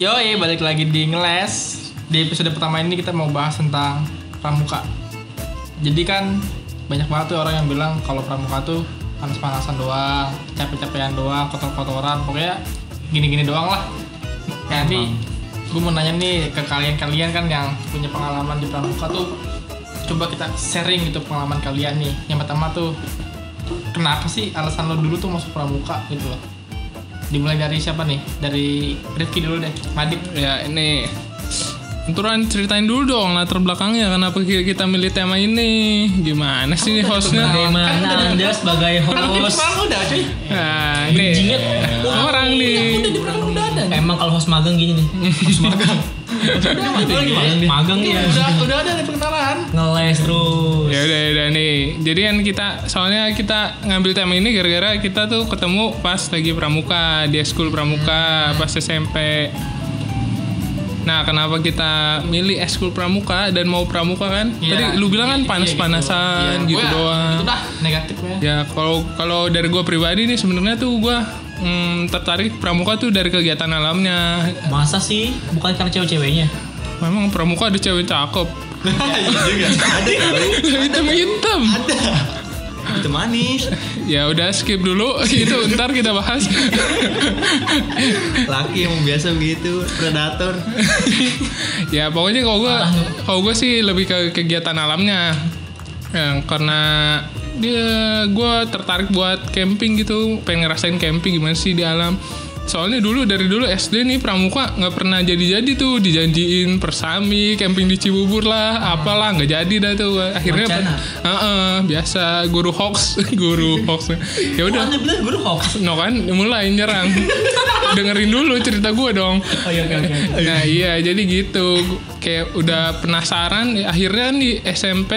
Yoi, balik lagi di ngeles. Di episode pertama ini kita mau bahas tentang pramuka. Jadi kan banyak banget tuh orang yang bilang kalau pramuka tuh panas-panasan doang, capek-capean doang, kotor-kotoran, pokoknya gini-gini doang lah. Ya, Nanti gue mau nanya nih ke kalian-kalian kan yang punya pengalaman di pramuka tuh coba kita sharing gitu pengalaman kalian nih. Yang pertama tuh kenapa sih alasan lo dulu tuh masuk pramuka gitu loh? Dimulai dari siapa nih? Dari Rifki dulu deh, Madit. Ya ini Turan ceritain dulu dong latar belakangnya kenapa ki- kita milih tema ini gimana Nah, sih nih Nah, Kan hostnya udah Bagaimana anda dikenal. sebagai Kalau kita host? sekarang udah cuy. nah ini Jinget. orang nih Udah di perang udah ada. Emang kalau host magang gini nih. Host magang. Lo lagi magang dia. Magang dia. Udah udah ada di perkenalan. Ngeles terus. ya udah ya udah nih jadi kan kita soalnya kita ngambil tema ini gara-gara kita tuh ketemu pas lagi pramuka di school Hmm. pramuka pas SMP nah kenapa kita milih eskul pramuka dan mau pramuka kan Iya. tadi lu bilang kan Iya, iya, gitu. panas-panasan Iya, gitu gua- doang Itu dah negatifnya. Ya kalau kalau dari gue pribadi nih sebenarnya tuh gue tertarik pramuka tuh dari kegiatan alamnya. Masa sih? Bukan karena cewek-ceweknya. Memang pramuka ada cewek cakep. hitam hitam. Itu manis. Ya udah skip dulu itu ntar kita bahas. laki emang biasa begitu predator ya pokoknya kalau gue kalau gue sih lebih ke kegiatan alamnya. Ya, karena dia gue tertarik buat camping gitu pengen ngerasain camping gimana sih di alam soalnya dulu dari dulu SD nih pramuka nggak pernah jadi-jadi tuh dijanjiin persami camping di Cibubur lah apalah nggak jadi dah tuh akhirnya Wacana. Heeh, biasa guru hoax guru hoax ya udah Anda bilang guru hoax. No kan mulai nyerang. Dengerin dulu cerita gue dong. Nah iya jadi gitu kayak udah penasaran ya akhirnya kan di SMP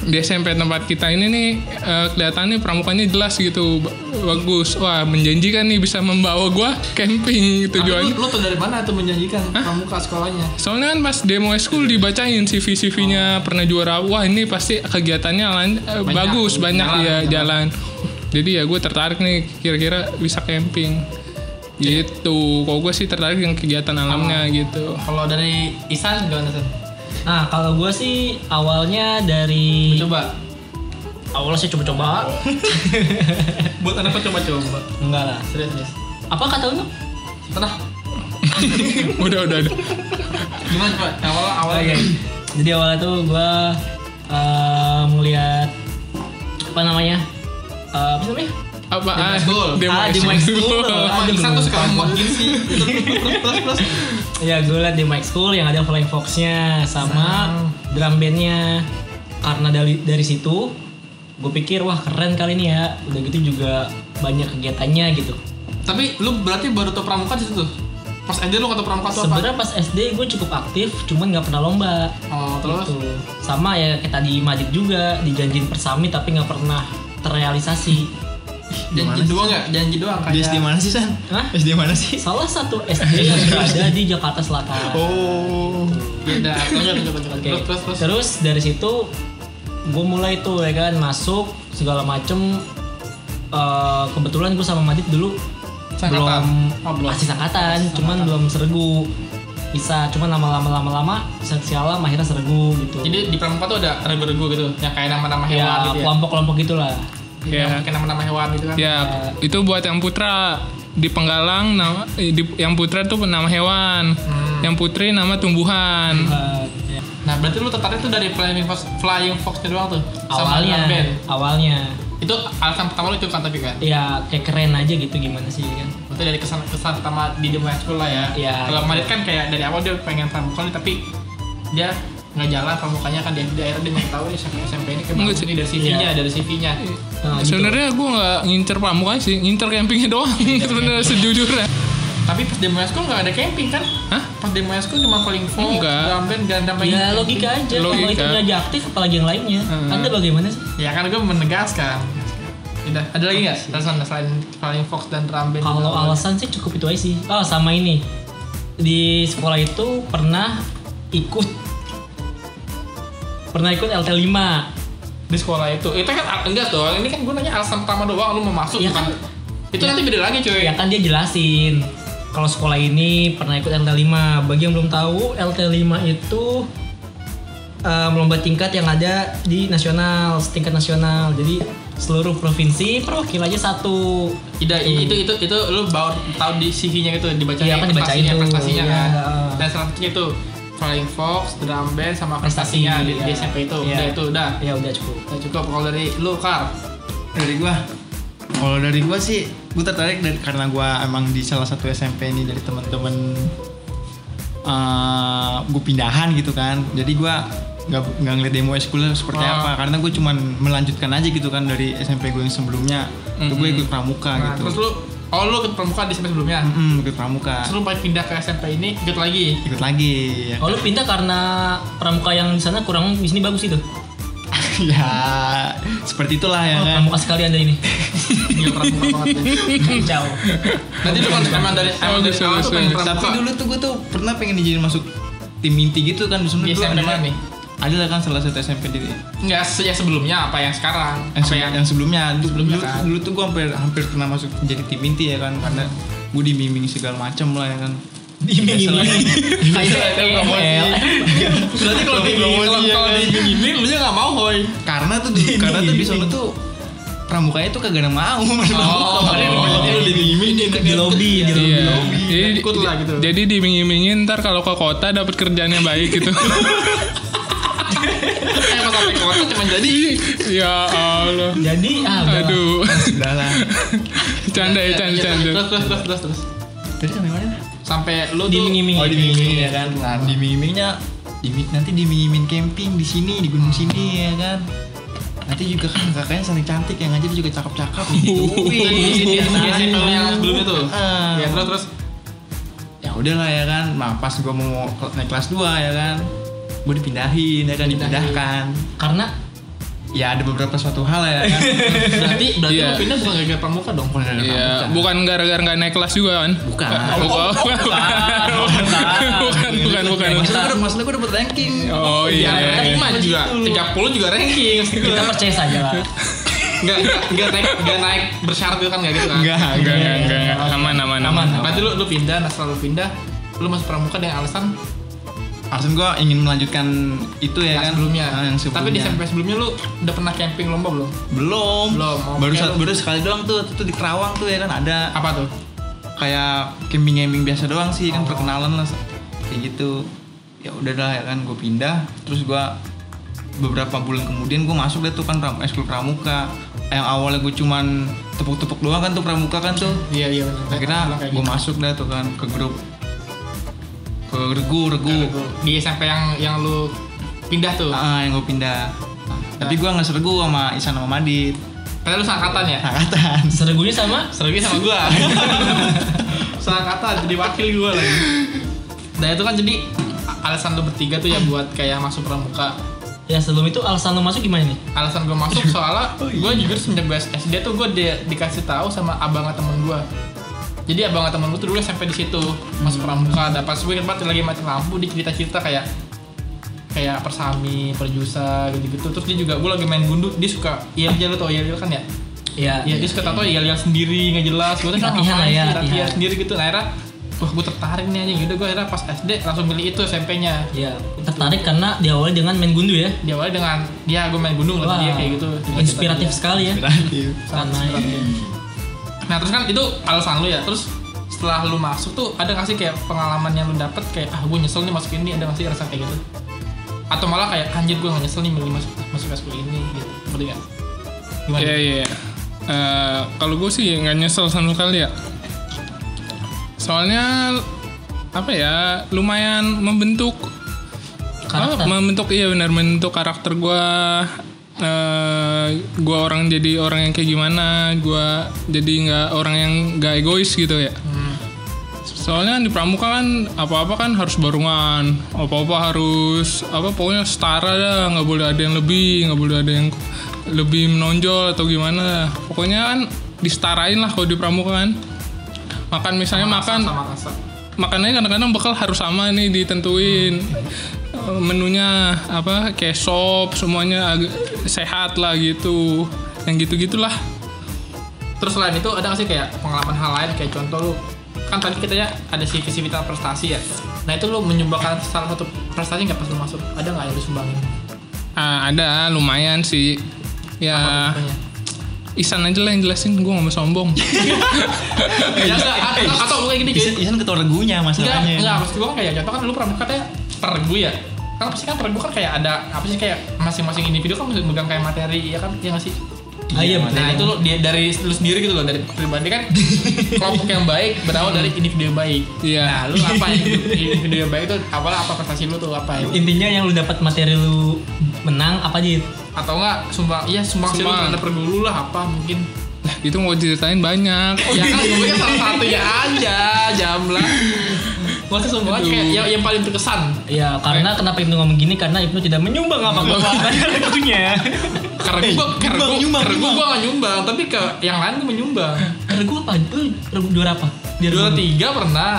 di SMP tempat kita ini nih eh, kelihatannya pramukanya jelas gitu ba- bagus wah menjanjikan nih bisa membawa gua camping gitu Tujuan tujuan lu, lu tuh dari mana tuh menjanjikan pramuka sekolahnya? soalnya kan pas demo school dibacain CV CV-nya pernah juara wah ini pasti kegiatannya lan- eh, Oh. Banyak. bagus banyak Jalan, ya jalan jadi ya gue tertarik nih kira-kira bisa camping Iya. gitu kok gue sih tertarik dengan kegiatan Oh. alamnya gitu Kalau dari Isan gimana San? Nah kalau gue sih awalnya dari Coba awalnya saya coba-coba. buat anak lu coba-coba. Enggak lah. Serius serius. Apa kata lu? Tenang. udah udah udah. Gimana coba? Awal awal Oke. Jadi awalnya tuh gue melihat apa namanya? Eh, apa sih namanya? apa ah, school. Ah, demo Oh, school. Sama Aduh. Isan tuh suka muat gini sih. Plus plus plus. Ya gue liat di Mike School yang ada Flying Fox-nya sama drum band-nya. Karena dari dari situ gue pikir wah keren kali ini ya. Udah gitu juga banyak kegiatannya gitu. Tapi lu berarti baru tau pramuka di situ. Pas aja lu kata pramuka tuh apa? Sebenarnya pas SD gue cukup aktif, cuman nggak pernah lomba. Oh, terus Gitu. Sama ya kayak tadi Madit juga dijanjin persami tapi nggak pernah terrealisasi. janji doang ya? nggak? Janji doang di SD kayak. mana sih san Hah? SD mana sih Salah satu SD yang berada di Jakarta Selatan. oh Beda. Lanjut lanjut lanjut. Oke. Terus terus terus. Terus dari situ gue mulai tuh ya kan masuk segala macem. Eh, kebetulan gue sama Madit dulu Seangkatan. belum Oh, belum. masih angkatan, cuman belum sergu. Bisa, cuman lama-lama lama-lama satu sialam akhirnya sergu gitu. Jadi di pramuka tuh ada regu-regu gitu, yang kayak nama-nama hewan ya gitu ya. kelompok-kelompok gitulah. Yang Ya. Kayak nama-nama hewan gitu kan. ya itu buat yang putra di Penggalang nama eh, di- yang putra tuh nama hewan yang putri nama tumbuhan Eh, ya. Hmm. Nah, berarti lu tertarik tuh dari Flying Fox Flying Fox-nya doang tuh. awalnya, drum band. awalnya Itu alasan pertama lu itu kan tapi kan. ya kayak keren aja gitu gimana sih ya kan? Berarti dari kesan kesan pertama di demo school lah ya. Iya. Kalau Madit kan kayak dari awal dia pengen pramuka nih, tapi dia nggak jalan pramukanya kan dia di akhirnya dia nggak Iya. tahu dia SMP SMP ini kayak Nggak bagus sih. nih dari CV-nya dari CV-nya Nah, gitu. Iya, sebenarnya gue nggak ngincer pramuka sih ngincer campingnya doang sebenarnya sejujurnya tapi pas demo school nggak ada camping kan Hah? pas demo school cuma paling full Enggak. drum band dan damai Ya logika aja, kalau Logika. itu nggak jadi aktif apalagi yang lainnya. Hmm. Anda bagaimana sih? Ya kan gue menegaskan. Udah, ada lagi nggak alasan selain Flying Fox dan Ramben? Kalau alasan sih cukup itu aja sih. Oh sama ini di sekolah itu pernah ikut pernah ikut LT5 di sekolah itu, itu kan al- enggak dong. Ini kan gue nanya alasan pertama doang lu mau masuk Iya kan? kan? Itu nanti beda lagi cuy. ya kan dia jelasin kalau sekolah ini pernah ikut LT5. Bagi yang belum tahu, LT5 itu eh, lomba tingkat yang ada di nasional, tingkat nasional. Jadi seluruh provinsi perwakilannya satu. Ida, i- itu itu itu lu bawa tahu di CV-nya gitu dibacanya Iya, kan dibacain prestasinya, tuh. prestasinya Iya. kan. Dan salah satunya itu Flying Fox, drum band sama Prestasi, prestasinya di, di iya. SMP itu. Iya. Udah itu udah. Ya udah cukup. Udah cukup kalau dari lu Kar. dari gua kalau dari gua sih gua tertarik dari karena gua emang di salah satu SMP ini dari teman-teman eh gua pindahan gitu kan jadi gua nggak nggak ngeliat demo sekolah seperti Ah. apa karena gua cuman melanjutkan aja gitu kan dari SMP gua yang sebelumnya Itu gua ikut pramuka Nah, gitu terus lu oh lu ikut pramuka di SMP sebelumnya. Mm-mm, ikut pramuka Terus lu pengen pindah ke SMP ini ikut lagi. ikut lagi ya, Oh lu pindah karena pramuka yang di sana kurang di sini bagus itu. Ya, seperti itulah ya Oh, kan pramuka sekalian dari ini. Gila pramuka banget. ya. Jauh. Nanti lu kan emang dari emang dari bisa, awal tuh bisa. pengen pramuka. tapi dulu tuh gua tuh pernah pengen dijadiin masuk tim inti gitu kan Di sebenarnya dulu SMP ada- mana nih? ada lah kan salah satu SMP di Enggak, se- yang sebelumnya apa yang sekarang? yang, apa se- yang yang sebelumnya, Du- Sebelumnya dulu, kan. dulu tuh gue hampir hampir pernah masuk jadi tim inti ya kan karena gue dibimbing segala macem lah ya kan Diiming-iming. Kayak Promosi. EL. Iya, Berarti kalau di Promosi, kalau ya kalau kan? diginiin lu nya enggak mau, hoi. Eh, karena tuh dulu- karena tuh di sana tuh pramukanya tuh kagak ada yang mau Oh, Makanya lu dibimbing dia di lobby, di lobby. Iya. Jadi, ikut lah gitu. jadi diiming-imingin ntar kalau ke kota dapat kerjaan yang baik gitu. Eh, pas sampai ke kota cuma jadi ya Allah. Jadi Iya. ah udah. lah. Aduh. udah lah canda ya, canda, Iya, canda. Terus terus terus terus terus. jadi sampai mana Sampai lu tuh Diiming-iming. oh dibimbing ya kan nah dibimbingnya dibimbing nanti dibimbingin camping di sini di gunung sini ya kan nanti juga kan kakaknya saling cantik yang ngajar juga cakep-cakep gitu Itu di sini di SMP lu Iya, yang sebelumnya tuh. Ah. Ya terus terus ya udahlah ya kan nah pas gue mau ke- naik kelas 2 ya kan gue dipindahin ya kan dipindahkan Karena ya ada beberapa suatu hal ya kan berarti berarti Iya. lu pindah bukan gara-gara pramuka dong. Bukan ada Iya, pramuka. bukan gara-gara nggak naik kelas juga kan? bukan Bukan, bukan, bukan, bukan, bukan. maksudnya gue maksudnya gue dapet ranking Oh iya, iya, Ya, iya. lima juga, 30 juga ranking. kita percaya saja lah. Enggak enggak naik enggak naik bersyarat gitu kan enggak gitu kan. enggak enggak, Iya. enggak, enggak, enggak. aman, aman, Iya, aman. Berarti lu lu pindah, nah setelah lu pindah lu masuk pramuka dengan alasan alasan gue ingin melanjutkan itu ya yang kan sebelumnya. Ah, yang Tapi sebelumnya di SMP sebelumnya lu udah pernah camping lomba belum? belum Belum, oke. baru satu baru sekali doang tuh tuh di Kerawang tuh ya kan ada Apa tuh? kayak camping camping biasa doang sih kan perkenalan lah kayak gitu ya udah dah ya kan gue pindah terus gue beberapa bulan kemudian gue masuk deh tuh kan pram- eskul pramuka yang awalnya gue cuman tepuk-tepuk doang kan tuh pramuka kan tuh Iya iya benar. akhirnya Kayak gue gitu. masuk deh tuh kan ke grup ke regu regu di SMP yang yang lu pindah tuh. ah yang gue pindah tapi gue nggak sergu sama Isan sama Madit Padahal lu seangkatan ya? angkatan Sergunya sama Sergi sama gua. seangkatan jadi wakil gua lagi. Dan itu kan jadi alasan lu bertiga tuh ya buat kayak masuk pramuka. Ya sebelum itu alasan lo masuk gimana nih? Alasan gua masuk soalnya Oh, iya. gua jujur semenjak gua SD tuh gua di- dikasih tahu sama abang temen gua. Jadi abang temen gua tuh dulu sampai di situ Hmm. masuk pramuka. Dan pas gue ingat banget lagi mati lampu dia cerita-cerita kayak kayak persami, perjusa gitu-gitu. Terus dia juga gua lagi main gunduk, dia suka iya aja lu tau iya kan ya? Ya, Iya, dia suka tato ya lihat sendiri nggak jelas. Gue tuh bilang, Latihan lah "Apaan ya, sih latihan." latihan sendiri gitu. Nah, akhirnya, wah gue tertarik nih aja. Yaudah gue akhirnya pas SD langsung beli itu SMP-nya. ya tertarik karena diawali dengan main gundu ya. Dia awalnya dengan dia gue main gunung lah dia kayak gitu. Cerita-cerita inspiratif dia. sekali ya. Sangat Karena inspiratif. Nah terus kan itu alasan lu ya. Terus setelah lu masuk tuh ada nggak sih kayak pengalaman yang lu dapet kayak ah gue nyesel nih masuk ini ada nggak sih rasa kayak gitu? Atau malah kayak anjir gue nggak nyesel nih milih masuk masuk sekolah ini gitu. Ngerti nggak? Gimana? Iya, iya. Eh, kalau gue sih nggak nyesel sama sekali ya. Soalnya apa ya lumayan membentuk Karakter. Ah, membentuk iya benar membentuk karakter gue gue orang jadi orang yang kayak gimana gue jadi nggak orang yang nggak egois gitu ya soalnya kan di pramuka kan apa-apa kan harus barungan apa-apa harus apa pokoknya setara dah nggak boleh ada yang lebih nggak boleh ada yang lebih menonjol atau gimana pokoknya kan disetarain lah kalau di pramuka kan makan misalnya makan Kan Sama rasa. makanannya kadang-kadang bekal harus sama nih ditentuin Eh, menunya apa kayak sop semuanya agak sehat lah gitu yang gitu gitulah Terus selain itu ada nggak sih kayak pengalaman hal lain kayak contoh lu kan tadi kita ya ada sivita prestasi ya. Nah itu lo menyumbangkan salah satu prestasi nggak pas lo masuk? Ada nggak yang lo sumbangin? Ah, ada lumayan sih ya Apanya? Isan aja lah yang jelasin gue gak mau sombong Ya, nggak, atau, atau kayak gitu, gini Isan, jadi Isan ketua regunya enggak masalahnya. Iya. enggak maksud gue kan kayak contoh kan lu pernah katanya pergu ya kan pasti kan pergu kan kayak ada apa sih kayak masing-masing individu kan mesti megang kayak materi ya kan ya nggak sih Ah, iya, betul. nah itu lu dia dari lu sendiri gitu loh dari pribadi kan kelompok yang baik berawal dari individu yang baik Iya. nah lu apa yang individu yang baik itu apalah apa prestasi lu tuh apa ya Intinya yang lu dapat materi lu menang apa aja? atau enggak sumbang iya sumbang sih lu Sumbang. terhadap pergu lu lah apa mungkin Lah, itu mau ceritain banyak ya kan gue kan salah satunya aja jamblang masa sumbang kayak yang, yang paling berkesan Ya karena kenapa Ibnu ngomong gini karena Ibnu tidak menyumbang apa-apa Iya, pada lagunya. karena gue karena gue karena gue gak nyumbang tapi ke yang lain gue menyumbang Regu apa? Lu regu juara apa? Di juara regu- tiga pernah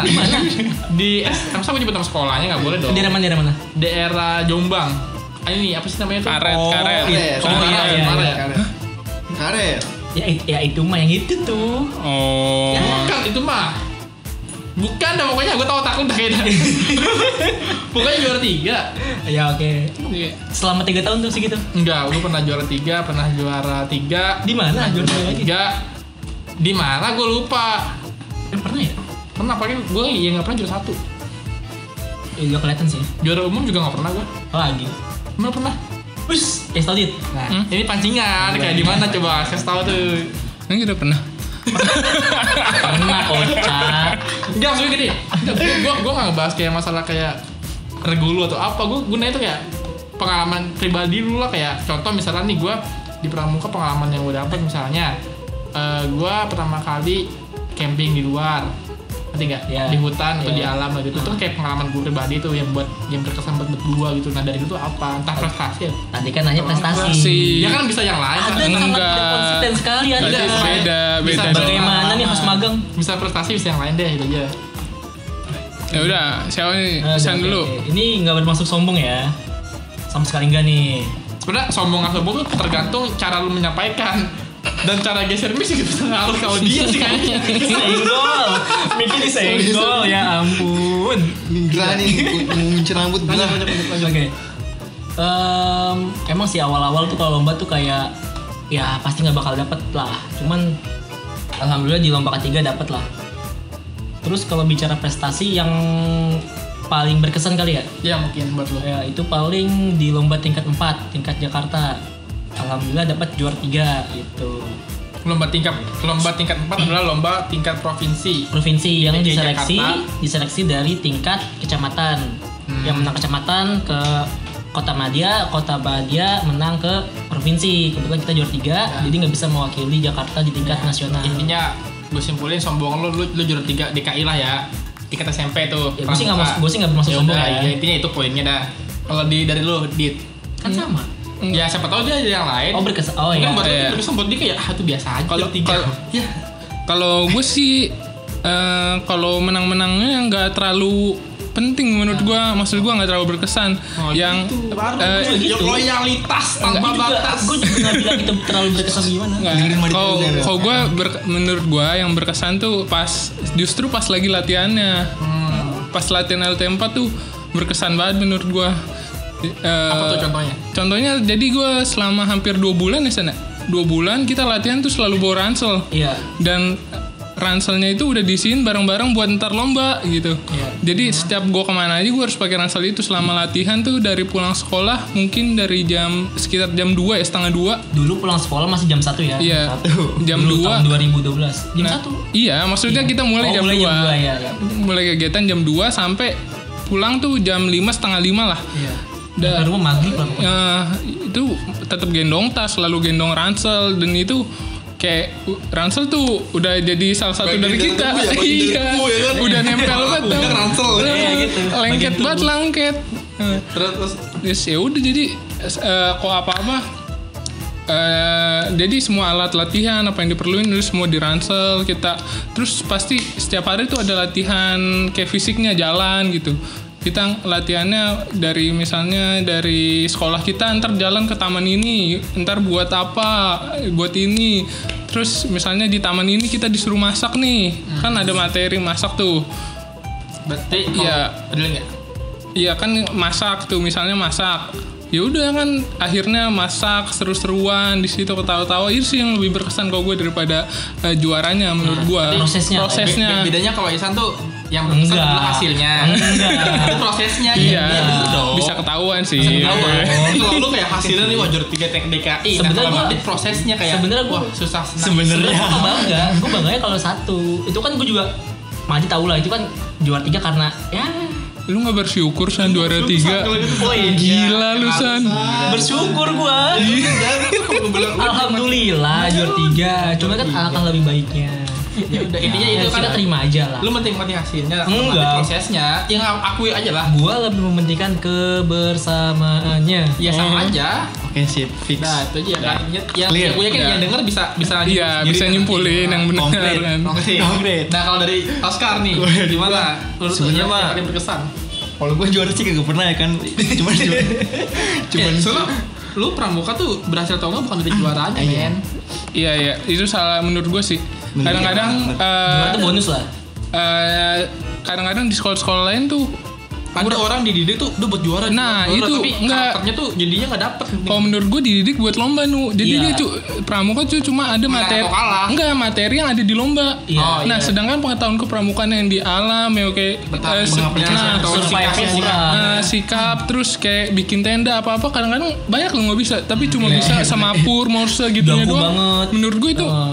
di eh masa gue nyebut nama sekolahnya nggak boleh dong Di daerah mana? Di daerah mana? daerah Jombang Ah, ini apa sih namanya tuh karet karet iya. Oh, Karet, karet, iya, karet. Karet. Ya, it- ya itu mah yang itu tuh. oh Ya, Bukan itu mah. Bukan dah pokoknya gue tau takut dah kayaknya. pokoknya juara tiga. Iya. Ya oke. Selama tiga tahun tuh segitu. Enggak, gue pernah juara tiga, pernah juara tiga, Di mana? Juara tiga lagi? tiga. Di mana gue lupa. Eh, pernah ya? Pernah pakai gue ya nggak pernah juara satu. Ya gak kelihatan sih. Juara umum juga nggak pernah gue. Lagi. Mana pernah? Wus, ya solid. Nah, ini pancingan kayak di mana coba? Saya tahu tuh. ini udah pernah Pernah kocak. Enggak, maksudnya gini. Enggak, Gue gua gua nggak ngebahas kayak masalah kayak regulu atau apa. Gue gunanya itu kayak pengalaman pribadi dulu lah kayak contoh misalnya nih gue di pramuka pengalaman yang gue dapet misalnya eh gue pertama kali camping di luar nanti nggak Iya. di hutan atau Iya. di alam lah gitu itu kayak pengalaman gue pribadi tuh yang buat yang berkesan buat berdua gitu nah dari itu tuh apa entah prestasi ya Tadi kan nanya prestasi. Si- ya kan bisa yang lain Ada kan. sangat Enggak. tidak konsisten sekali ada. Tadi Ada. beda Bisa beda dong. Bagaimana nih host magang? bisa prestasi bisa yang lain deh gitu aja ya udah siapa nih Aduh, Isan oke, dulu oke. Ini nggak bermaksud sombong ya. Sama sekali enggak nih. sebenarnya sombong atau sombong tuh tergantung cara lu menyampaikan dan cara geser misi gitu harus kalau dia sih kayaknya Disenggol. Miki disenggol ya ampun. Gerah nih, mau ngincir rambut gerah. Oke. Em, emang sih awal-awal tuh kalau lomba tuh kayak ya pasti nggak bakal dapet lah. Cuman alhamdulillah di lomba ketiga dapet lah. Terus kalau bicara prestasi yang paling berkesan kali ya, ya mungkin buat lu Ya, itu paling di lomba tingkat 4, tingkat Jakarta. Alhamdulillah dapat juara 3 gitu. lomba tingkat lomba tingkat 4 adalah lomba tingkat provinsi Provinsi yang DKI diseleksi, Jakarta. diseleksi dari tingkat kecamatan. Hmm. Yang menang kecamatan ke Kota Madia, Kota Badia menang ke provinsi. Kebetulan kita juara 3, jadi nggak bisa mewakili Jakarta di tingkat nasional. Ya. intinya gue simpulin sombong lu lu, lu juara 3 DKI lah ya tingkat SMP tuh Ya, gue sih nggak pramuka. mas- gue sih nggak bermaksud Ya sombong udah, ya. ya, intinya itu poinnya dah kalau di dari lu dit Kan sama. ya siapa tahu dia ada yang lain Oh berkesan. Oh Mungkin iya. buat lu Iya. tuh Eh, berkesan buat dia kayak ah itu biasa aja Kalau- tiga kalau- ya kalau gue sih eh, kalau menang-menangnya nggak terlalu penting menurut gue maksud gue nggak terlalu berkesan Oh, yang eh, ya loyalitas tanpa Gue gitu. juga, batas gue juga nggak bilang itu terlalu berkesan gimana. Dengerin Nggak, Madit kalau dulu, ya. Zara. kalau gue menurut gue yang berkesan tuh pas justru pas lagi latihannya pas latihan LT4 tuh berkesan banget menurut gue apa tuh contohnya contohnya jadi gue selama hampir dua bulan ya sana dua bulan kita latihan tuh selalu bawa ransel Iya. dan ranselnya itu udah diisiin bareng-bareng buat ntar lomba gitu. Iya. Jadi setiap gue kemana aja gue harus pakai ransel itu selama latihan tuh dari pulang sekolah mungkin dari jam sekitar jam 2 ya setengah dua. Dulu pulang sekolah masih jam 1 ya. Iya. Satu. Jam Dulu dua. tahun 2012. Jam Nah, 1. Iya, maksudnya kita mulai Oh, jam mulai jam 2 ya, ya. 2 mulai kegiatan jam 2 sampai pulang tuh jam 5 setengah 5 lah. Iya. Da- Ke rumah maghrib lah pokoknya. Eh, itu tetap gendong tas, lalu gendong ransel dan itu kayak u- ransel tuh udah jadi salah satu dari dari kita. tubuh ya, bagian dari iya. tubuh ya kan? Udah nempel banget. Udah tau. ransel. Eh, Iya, gitu. Lengket Bagian tubuh. banget lengket. Eh, Terus terus Terus ya udah jadi eh, kok apa-apa eh, jadi semua alat latihan apa yang diperluin terus semua diransel kita terus pasti setiap hari tuh ada latihan kayak fisiknya jalan gitu kita latihannya dari misalnya dari sekolah kita ntar jalan ke taman ini ntar buat apa buat ini Terus misalnya di taman ini kita disuruh masak nih, kan ada materi masak tuh. Berarti kalau Iya. peduli nggak? Iya kan masak tuh misalnya masak. Ya udah kan akhirnya masak seru-seruan di situ ketawa-tawa itu sih yang lebih berkesan kalau gue daripada eh, juaranya menurut gue. prosesnya. Prosesnya. Be- bedanya kalau Ihsan tuh yang berkesan Enggak. adalah hasilnya. Enggak. Itu prosesnya. Iya. gitu dong. Bisa ketahuan sih. Ketahuan. Tapi kalau lu kayak hasilnya nih wajur 3 tek DKI. Nah, Sebenarnya kalau gua- Madrid prosesnya kayak sebenarnya gua- wah susah senang. Nah, sebenarnya gue bangga gue bangganya kalau satu itu kan gue juga Maji tau lah itu kan juara tiga karena ya Lu nggak bersyukur san juara tiga? Kalau gitu, boy. Gila lu Iya, san. bersyukur gue Kalau gua bilang, alhamdulillah juara tiga cuma kan alangkah lebih baiknya Ya udah, intinya itu kita kan- terima aja lah lu penting mati hasilnya sama Enggak. mati prosesnya yang akui aja lah gue lebih mementingkan kebersamaannya ya Hmm. sama aja Oke sip, fix. nah itu aja Nah, kan yang yang Clear. gue yakin Iya. yang denger bisa bisa Iya bisa kan nyimpulin yang benar Komplit. kan. Oke. Konkret. Nah kalau dari Oscar nih, Gua- gimana? gua- Menurut sebenarnya lu mah- yang paling berkesan. Kalau gue juara sih kagak pernah ya kan. Cuman juara. Cuman Cuman Eh, soalnya lu pramuka tuh berhasil atau enggak bukan dari juaranya, Iya. men. Iya iya itu salah menurut gue sih. Bener. Kadang-kadang eh, Juara itu bonus lah eh, kadang-kadang di sekolah-sekolah lain tuh Ada orang dididik tuh udah buat juara. Nah, juara, itu tapi enggak. karakternya tuh jadinya enggak dapet. kalau menurut gue dididik buat lomba nu jadi Iya. dia cu- pramuka tuh cuma ada Menang materi atau kalah. enggak materi yang ada di lomba Iya. Oh, nah iya. sedangkan pengetahuan kepramukaan yang di alam ya oke Betapa eh, se- pengabdian nah, atau sur- sikapnya survive-nya sih. kurang. nah, sikap terus kayak bikin tenda apa apa kadang-kadang banyak lo nggak bisa tapi cuma bisa semapur morse gitu doang Baku Iya. banget. menurut gue itu Oh.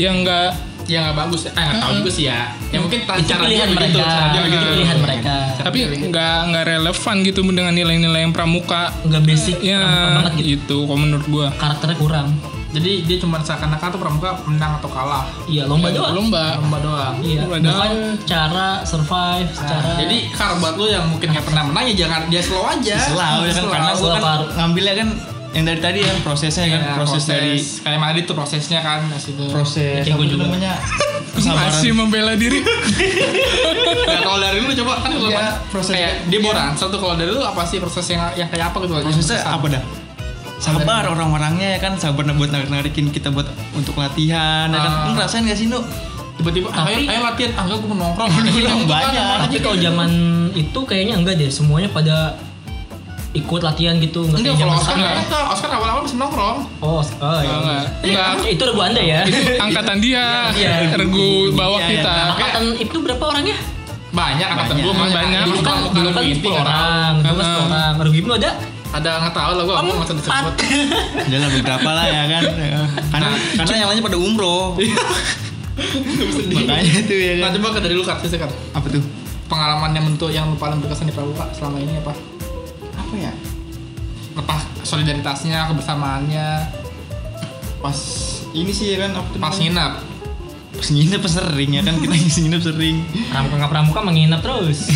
yang enggak Ya enggak bagus. Eh enggak tahu juga sih ya. Ya mungkin cara itu pilihan mereka itu gitu. pilihan mereka tapi ya. nggak nggak relevan gitu dengan nilai-nilai yang pramuka nggak basic ya gampang banget gitu gitu kalau menurut gue karakternya kurang Jadi dia cuma seakan-akan tuh pramuka menang atau kalah. iya lomba doang lomba Lomba doang. iya Lomba doang. bukan cara survive secara Nah, jadi karbat lu yang mungkin nggak pernah menang ya jangan dia slow aja. Selalu ya kan Slow. karena gue kan Selalu. ngambilnya kan yang dari tadi ya prosesnya kan Ya, proses, dari kayak Madrid tuh prosesnya kan di situ. proses Kayak gua apa juga. namanya masih membela diri Nah, kalau dari lu coba kan lu Iya, mana? prosesnya. kayak dia bawa ransel tuh kalau dari lu apa sih proses yang yang kayak apa gitu? prosesnya Yang apa dah sabar orang-orangnya ya kan sabar buat narik-narikin kita buat untuk latihan ya kan Ah. lu ngerasain gak sih nu Tiba-tiba ayo, Tapi- ayo latihan, ah enggak gue mau nongkrong. Yang Iya, banyak. Tapi kalau zaman itu kayaknya enggak deh, semuanya pada ikut latihan gitu, enggak Enggak kayak kalau zaman Oscar sekarang. enggak, Oscar awal-awal masih nongkrong. Oh, oh iya. Enggak, enggak. Eh, Itu lagu Anda ya. angkatan dia Iya. regu bawah Iya, kita Angkatan itu berapa orangnya? Banyak angkatan Banyak. gua banyak. Banyak. Dulu Dulu kan pramuka dulu kan Rugby, nggak 10 tahu. orang, dulu kan 10 Heeh. orang. Rugby belum ada. Ada nggak tahu lah gua Oh, nggak mau disebut. Empat. Udah lah beberapa lah ya kan karena karena yang lainnya pada umroh makanya tuh ya Nah kan coba ke dari lu kartu kan apa tuh pengalaman yang bentuk yang lu paling berkesan di pramuka selama ini apa? apa ya Entah solidaritasnya, kebersamaannya, pas ini sih ya kan apa tuh pas namanya? nginap. pas nginep pas sering ya kan kita nginep sering Pramuka nggak pramuka menginap terus.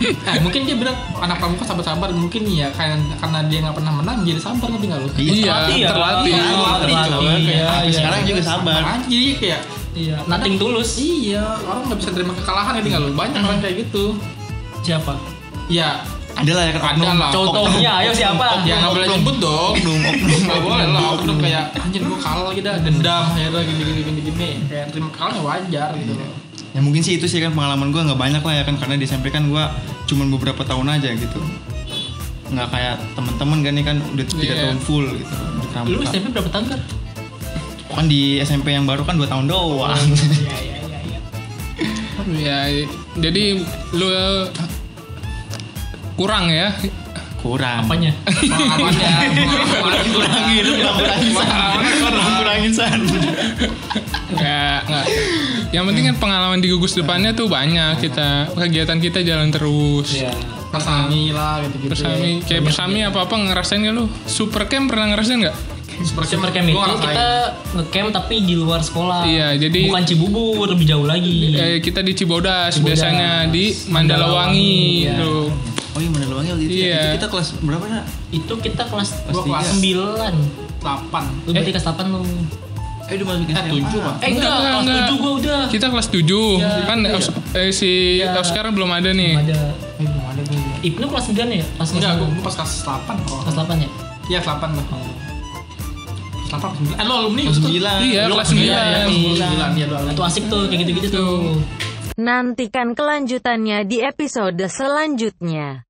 Eh, mungkin dia bilang anak pramuka sabar-sabar mungkin ya karena karena dia nggak pernah menang jadi sabar ngerti nggak lu? Iya, ya? terlatih. Terlatih, terlatih. coba. Iya, Sampai iya. sekarang juga sabar Nah, jadi kayak Iya, nothing tulus. iya orang nggak bisa terima kekalahan ngerti nggak lu? Banyak orang kayak gitu. Siapa? Ya ada lah ya kan ada lah. Contohnya, ayo siapa? Ya nggak boleh nyebut dong. oknum oknum Nggak boleh lah. Aku kayak anjir gua kalah lagi dah dendam akhirnya gini gini gini gini. Kayak terima kalah ya wajar gitu. ya mungkin sih itu sih kan pengalaman gue nggak banyak lah ya kan karena di SMP kan gue cuman beberapa tahun aja gitu nggak kayak temen-temen kan nih kan udah tiga Iya. tahun full gitu udah Lu pramuka SMP berapa tahun kan? kan di SMP yang baru kan dua tahun doang Iya, iya, iya, iya. ya jadi lu kurang ya kurang Apanya? Pengalamannya, pengalamannya kurangin lu nggak kurangin san Nggak kurangin san ya nggak yang penting kan pengalaman di gugus depannya tuh banyak kita kegiatan kita jalan terus Iya. persami lah gitu gitu. persami kayak persami apa apa ngerasain gak lu super camp pernah ngerasain nggak Super camp itu kita ngecamp tapi di luar sekolah. Iya, jadi- Ah, bukan Cibubur, lebih jauh lagi. Eh, kita di Cibodas, Cibodas. biasanya di Mandalawangi Mandalawangi, iya. tuh oh iya mana luangnya waktu itu ya? Iya. itu kita kelas berapa nak Itu kita kelas Kelas tiga. 8 9. Lu berarti kelas 8 lu. eh udah masuk Eh, SMA. tujuh, Pak. Eh enggak, Enggak, kelas enggak. 7 gua udah. kita kelas 7 kan Os- eh, si Iya. Oscar belum ada nih Ada Eh, belum ada gue. Ibnu kelas 9 ya? Kelas Enggak, gue 9. pas kelas 8 kok. Kelas 8 ya? Iya, kelas 8 lah. Delapan, sembilan. Eh, lo alumni Kelas gitu. sembilan. Iya, Lo kelas sembilan, sembilan. ya, kelas sembilan, iya, lo Nah, alumni. itu asik tuh kayak gitu-gitu tuh. Nantikan kelanjutannya di episode selanjutnya.